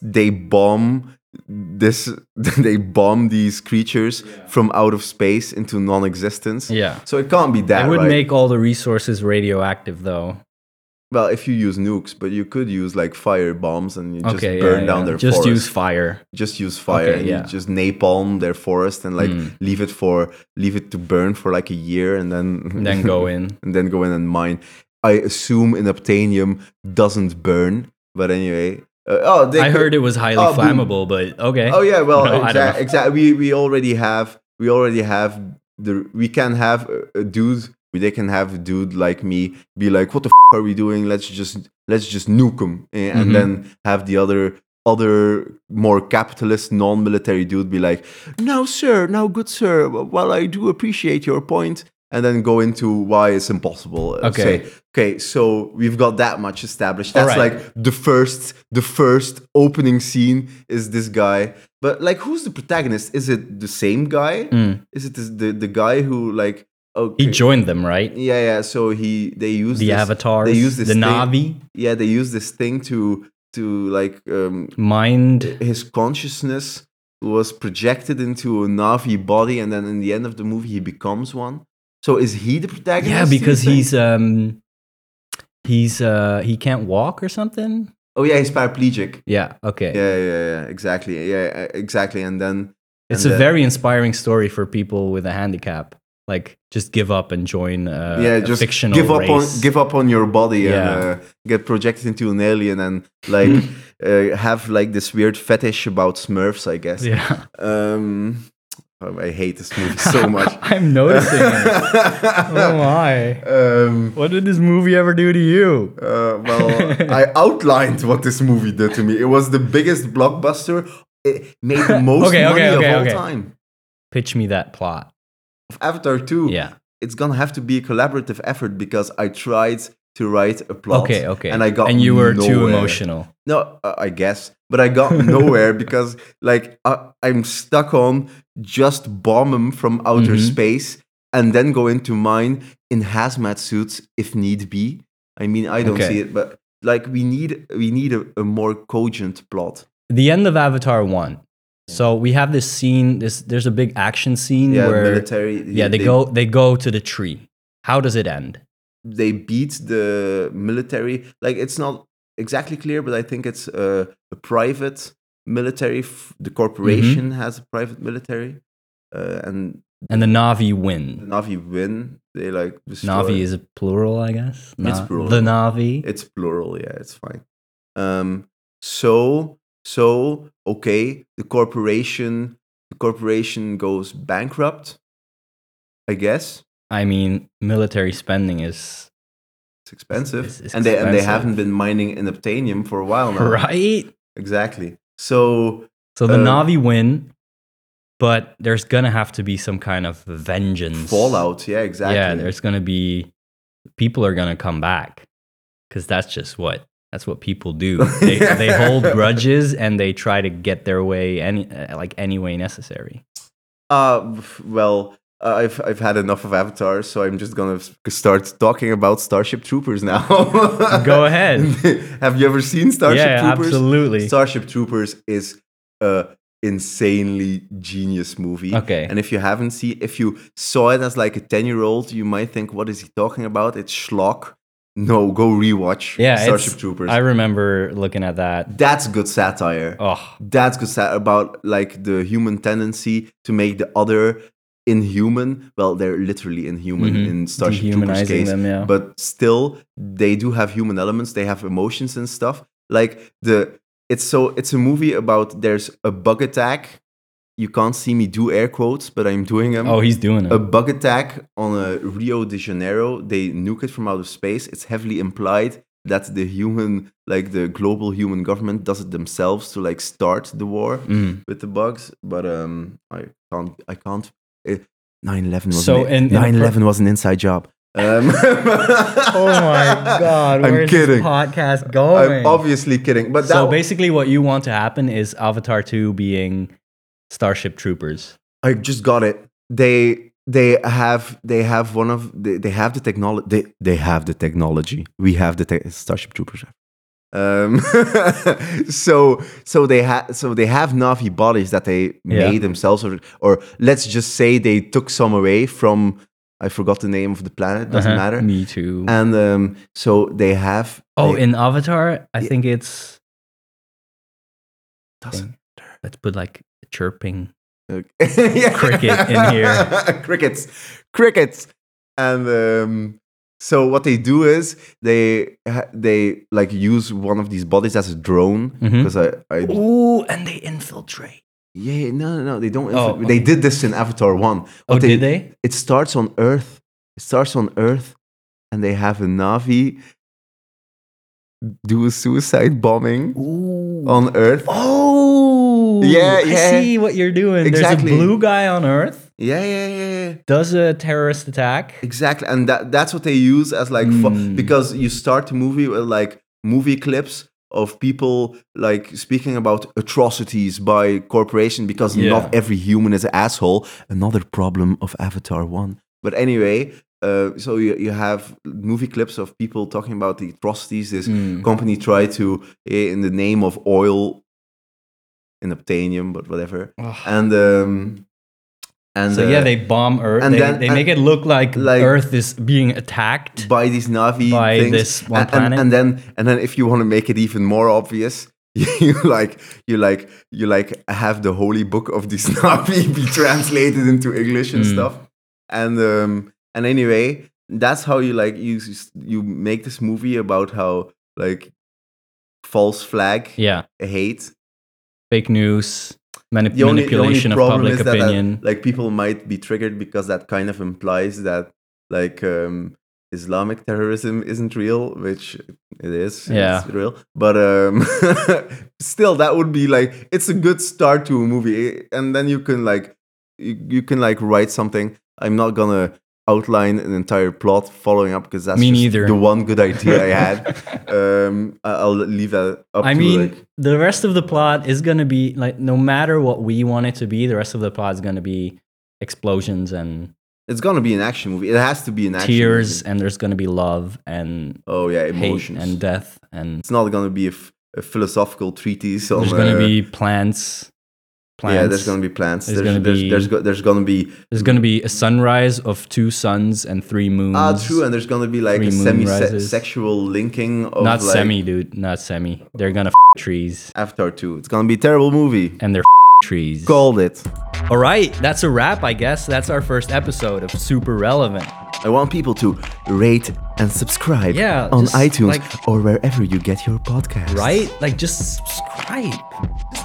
S1: they bomb this [LAUGHS] they bomb these creatures from out of space into non-existence.
S2: Yeah.
S1: So it can't be that.
S2: I would
S1: right?
S2: make all the resources radioactive, though.
S1: Well, if you use nukes, but you could use like fire bombs and you just
S2: okay, yeah,
S1: burn
S2: yeah,
S1: down
S2: yeah.
S1: their
S2: just
S1: forest.
S2: use fire.
S1: just use fire
S2: Okay,
S1: and
S2: yeah.
S1: you just napalm their forest and like
S2: Mm.
S1: leave it for leave it to burn for like a year and then [LAUGHS]
S2: and Then go in.
S1: and then go in and mine. I assume in Aptanium doesn't burn. But anyway, uh, oh, they
S2: I
S1: could-
S2: heard it was highly
S1: Oh, boom.
S2: flammable, but okay.
S1: Oh yeah, well,
S2: [LAUGHS] No, I don't
S1: exactly.
S2: know.
S1: we we already have we already have the we can have a, a dude. They can have a dude like me be like, "What the f- are we doing? Let's just let's just nuke him," and
S2: Mhm.
S1: then have the other other more capitalist non-military dude be like, "No, sir, no, good sir. Well, I do appreciate your point." And then go into why it's impossible. Uh,
S2: Okay.
S1: say, okay. So we've got that much established.
S2: All
S1: That's
S2: right.
S1: like the first the first opening scene is this guy but like who's the protagonist is it the same guy
S2: Mm.
S1: is it this, the the guy who like okay
S2: He joined them, right?
S1: yeah yeah so he they use
S2: The
S1: this,
S2: avatars,
S1: they use this
S2: the
S1: thing-
S2: Navi,
S1: yeah they use this thing to to like um
S2: mind.
S1: his consciousness was projected into a navi body and then in the end of the movie he becomes one so is he the protagonist
S2: Yeah,
S1: do you
S2: because
S1: think?
S2: he's um, he's uh, he can't walk or something.
S1: oh yeah he's paraplegic
S2: Yeah. Okay.
S1: yeah yeah yeah exactly yeah exactly and then
S2: It's
S1: and
S2: a
S1: then-
S2: very inspiring story for people with a handicap. Like, just give up and join uh,
S1: yeah,
S2: a
S1: just
S2: fictional
S1: give up
S2: race.
S1: on give up on your body
S2: Yeah.
S1: and uh, get projected into an alien and like
S2: [LAUGHS]
S1: uh, have like this weird fetish about Smurfs, I guess.
S2: Yeah, [LAUGHS]
S1: Um, oh, I hate this movie so much.
S2: I'm
S1: [LAUGHS]
S2: noticing. it. Oh my!
S1: um,
S2: What did this movie ever do to you?
S1: uh, well,
S2: [LAUGHS]
S1: I outlined what this movie did to me. It was the biggest blockbuster. It
S2: [LAUGHS]
S1: made the most
S2: Okay, okay,
S1: money of
S2: okay,
S1: all
S2: okay.
S1: time.
S2: Pitch me that plot.
S1: Of Avatar 2.
S2: Yeah.
S1: It's gonna have to be a collaborative effort because I tried to write a plot.
S2: Okay. Okay.
S1: And I got
S2: and you were too
S1: nowhere.
S2: emotional.
S1: No, uh, I guess, but I got
S2: [LAUGHS]
S1: nowhere because like I, I'm stuck on just bomb him from outer
S2: Mhm.
S1: space and then go into mine in hazmat suits if need be. I mean, I don't
S2: Okay.
S1: see it, but like we need we need a, a more cogent plot.
S2: the end of Avatar One. So we have this scene. This there's a big action scene
S1: Yeah,
S2: where
S1: military.
S2: yeah they, go they go to the tree. How does it end?
S1: They beat the military. Like it's not exactly clear, but I think it's a, a private military. F-
S2: Mm-hmm.
S1: the corporation has a private military, uh, and
S2: And the Navi
S1: the
S2: win.
S1: Navi win, they like destroy.
S2: Navi is a plural, I guess.
S1: It's
S2: Na-
S1: plural.
S2: The Navi.
S1: it's plural, yeah, it's fine. Um, so so okay, the corporation the corporation goes bankrupt, I guess.
S2: I mean, military spending is
S1: It's expensive,
S2: It's- it's
S1: and they and they
S2: expensive.
S1: haven't been mining in obtanium for a while now.
S2: [LAUGHS] right.
S1: Exactly. So
S2: So the
S1: Uh,
S2: Navi win, but there's gonna have to be some kind of vengeance
S1: fallout, yeah, exactly.
S2: Yeah, there's gonna be people are gonna come back because that's just what that's what
S1: [LAUGHS]
S2: people do. They, they hold grudges and they try to get their way any uh, like any way necessary.
S1: Uh, f- well, uh, I've I've had enough of Avatar, so I'm just gonna s- start talking about Starship Troopers now. [LAUGHS]
S2: Go ahead.
S1: Have you ever seen Starship
S2: yeah,
S1: Troopers?
S2: absolutely.
S1: Starship Troopers is a insanely genius movie.
S2: Okay.
S1: And if you haven't seen, if you saw it as like a ten year old, you might think, "What is he talking about? It's schlock." No, go rewatch
S2: Yeah, it's-
S1: Starship Troopers.
S2: I remember looking at that.
S1: That's good satire
S2: Oh,
S1: that's good sa- about like the human tendency to make the other inhuman well they're literally inhuman
S2: Mhm.
S1: in starship troopers
S2: dehumanizing
S1: case
S2: them. Yeah.
S1: but still they do have human elements they have emotions and stuff like the it's so it's a movie about there's a bug attack you can't see me do air quotes but i'm doing them
S2: oh, he's doing it.
S1: a bug attack on a Rio de Janeiro. They nuke it from outer space. It's heavily implied that the human, like the global human government, does it themselves to like start the war
S2: Mm.
S1: with the bugs. But um, I can't. I can't. eh, It, 9/11 was
S2: So
S1: an,
S2: in- in a per-
S1: 9/11 was an inside job. Um, [LAUGHS]
S2: Oh my God!
S1: I'm
S2: where's
S1: kidding.
S2: This podcast
S1: I'm
S2: going.
S1: obviously kidding. But that,
S2: so basically, what you want to happen is Avatar Two being Starship Troopers.
S1: I just got it. They they have they have one of they, they have the technology they, they have the technology. We have the te- Starship Troopers. Um, [LAUGHS] so so they have so they have Navi bodies that they
S2: Yeah.
S1: made themselves, or, or let's just say they took some away from. I forgot the name of the planet. Doesn't
S2: Uh-huh.
S1: matter.
S2: Me too.
S1: And um, so they have.
S2: Oh,
S1: they-
S2: in Avatar, I
S1: Yeah.
S2: think it's
S1: doesn't-
S2: let's put like chirping.
S1: Okay. [LAUGHS]
S2: Cricket in here.
S1: Crickets. Crickets. And um, So what they do is they ha- they like use one of these bodies as a drone
S2: Mhm.
S1: because I, I
S2: Ooh, and they infiltrate.
S1: yeah, yeah, no no no they don't
S2: Oh,
S1: infiltrate. they
S2: okay.
S1: did this in Avatar one.
S2: Oh,
S1: What
S2: did they?
S1: It starts on Earth. It starts on Earth, and they have a Navi do a suicide bombing
S2: Ooh.
S1: on Earth.
S2: Oh,
S1: Yeah,
S2: I
S1: yeah.
S2: see what you're doing.
S1: Exactly.
S2: There's a blue guy on Earth
S1: Yeah yeah yeah. yeah.
S2: does a terrorist attack.
S1: Exactly, and that that's what they use as like fu-
S2: Mm.
S1: because you start the movie with like movie clips of people like speaking about atrocities by corporation because
S2: Yeah.
S1: not every human is an asshole. Another problem of Avatar One. But anyway, uh, so you you have movie clips of people talking about the atrocities this
S2: Mm.
S1: company tried to eh, in the name of oil and obtainium, but whatever.
S2: Ugh.
S1: And um, and
S2: So yeah,
S1: uh,
S2: they bomb Earth.
S1: and
S2: they
S1: then-
S2: they
S1: and-
S2: make it look like,
S1: like-
S2: Earth is being attacked.
S1: by these Navi
S2: By
S1: things.
S2: this one
S1: and,
S2: planet?
S1: And, and then and then if you want to make it even more obvious, [LAUGHS] you like you like you like have the holy book of these [LAUGHS] Navi be translated into English and
S2: Mm.
S1: stuff. And um and anyway, that's how you like you s- you make this movie about how like false flag
S2: yeah,
S1: hate
S2: fake news, manip-
S1: the only, the only
S2: manipulation of
S1: problem
S2: public
S1: is that, uh,
S2: opinion.
S1: [LAUGHS] like people might be triggered because that kind of implies that like um, Islamic terrorism isn't real, which it is.
S2: Yeah.
S1: it's real. But um, [LAUGHS] still, that would be like it's a good start to a movie, and then you can like you, you can like write something. I'm not gonna outline an entire plot following up because that's
S2: Me
S1: just
S2: neither.
S1: the one good idea I had. [LAUGHS] um, I- I'll leave that up.
S2: [LAUGHS] I
S1: to,
S2: mean,
S1: like,
S2: the rest of the plot is gonna be like no matter what we want it to be, the rest of the plot is gonna be explosions and
S1: it's gonna be an action movie. It has to be an action. movie.
S2: tears, and there's gonna be love and
S1: Oh yeah,
S2: hate
S1: emotions.
S2: and death, and
S1: it's not going to be a, f- a philosophical treatise on.
S2: there's gonna
S1: uh,
S2: be plants. Plants.
S1: Yeah, there's going to be plants.
S2: There's
S1: There's there's
S2: gonna be-
S1: there's, go- there's going to be
S2: There's gonna be a sunrise of two suns and three moons.
S1: ah true, and there's going to be like
S2: Three
S1: a
S2: moon rises.
S1: semi-sexual linking of
S2: Not
S1: like,
S2: semi, dude. Not semi. They're gonna f- trees
S1: Avatar two. It's going to be a terrible movie.
S2: and they're f- trees.
S1: Called it.
S2: All right, that's a wrap. I guess that's our first episode of Super Relevant.
S1: I want people to rate and subscribe
S2: Yeah,
S1: on
S2: just,
S1: iTunes
S2: like-
S1: or wherever you get your podcast.
S2: Right? Like, just subscribe.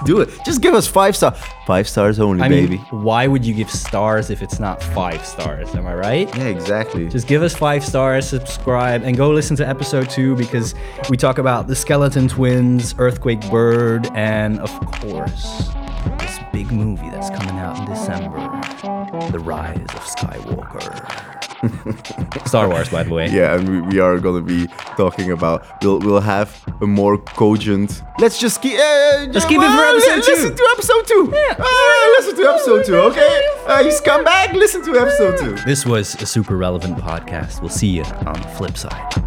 S1: Do it. Just give us five star. Five stars only,
S2: I
S1: baby.
S2: mean, why would you give stars if it's not five stars? Am I right?
S1: yeah, exactly.
S2: Just give us five stars, subscribe, and go listen to episode two because we talk about the Skeleton Twins, Earthquake Bird, and of course, this big movie that's coming out in December The Rise of Skywalker. [LAUGHS] Star Wars, by the way.
S1: Yeah, and we, we are gonna be talking about. We'll we'll have a more cogent. Let's just keep. Uh,
S2: Let's keep it for episode two.
S1: Listen to episode two.
S2: Yeah.
S1: Ah, listen to episode two. Okay, uh, you scumbag. Listen to episode two.
S2: This was a super relevant podcast. We'll see you on the flip side.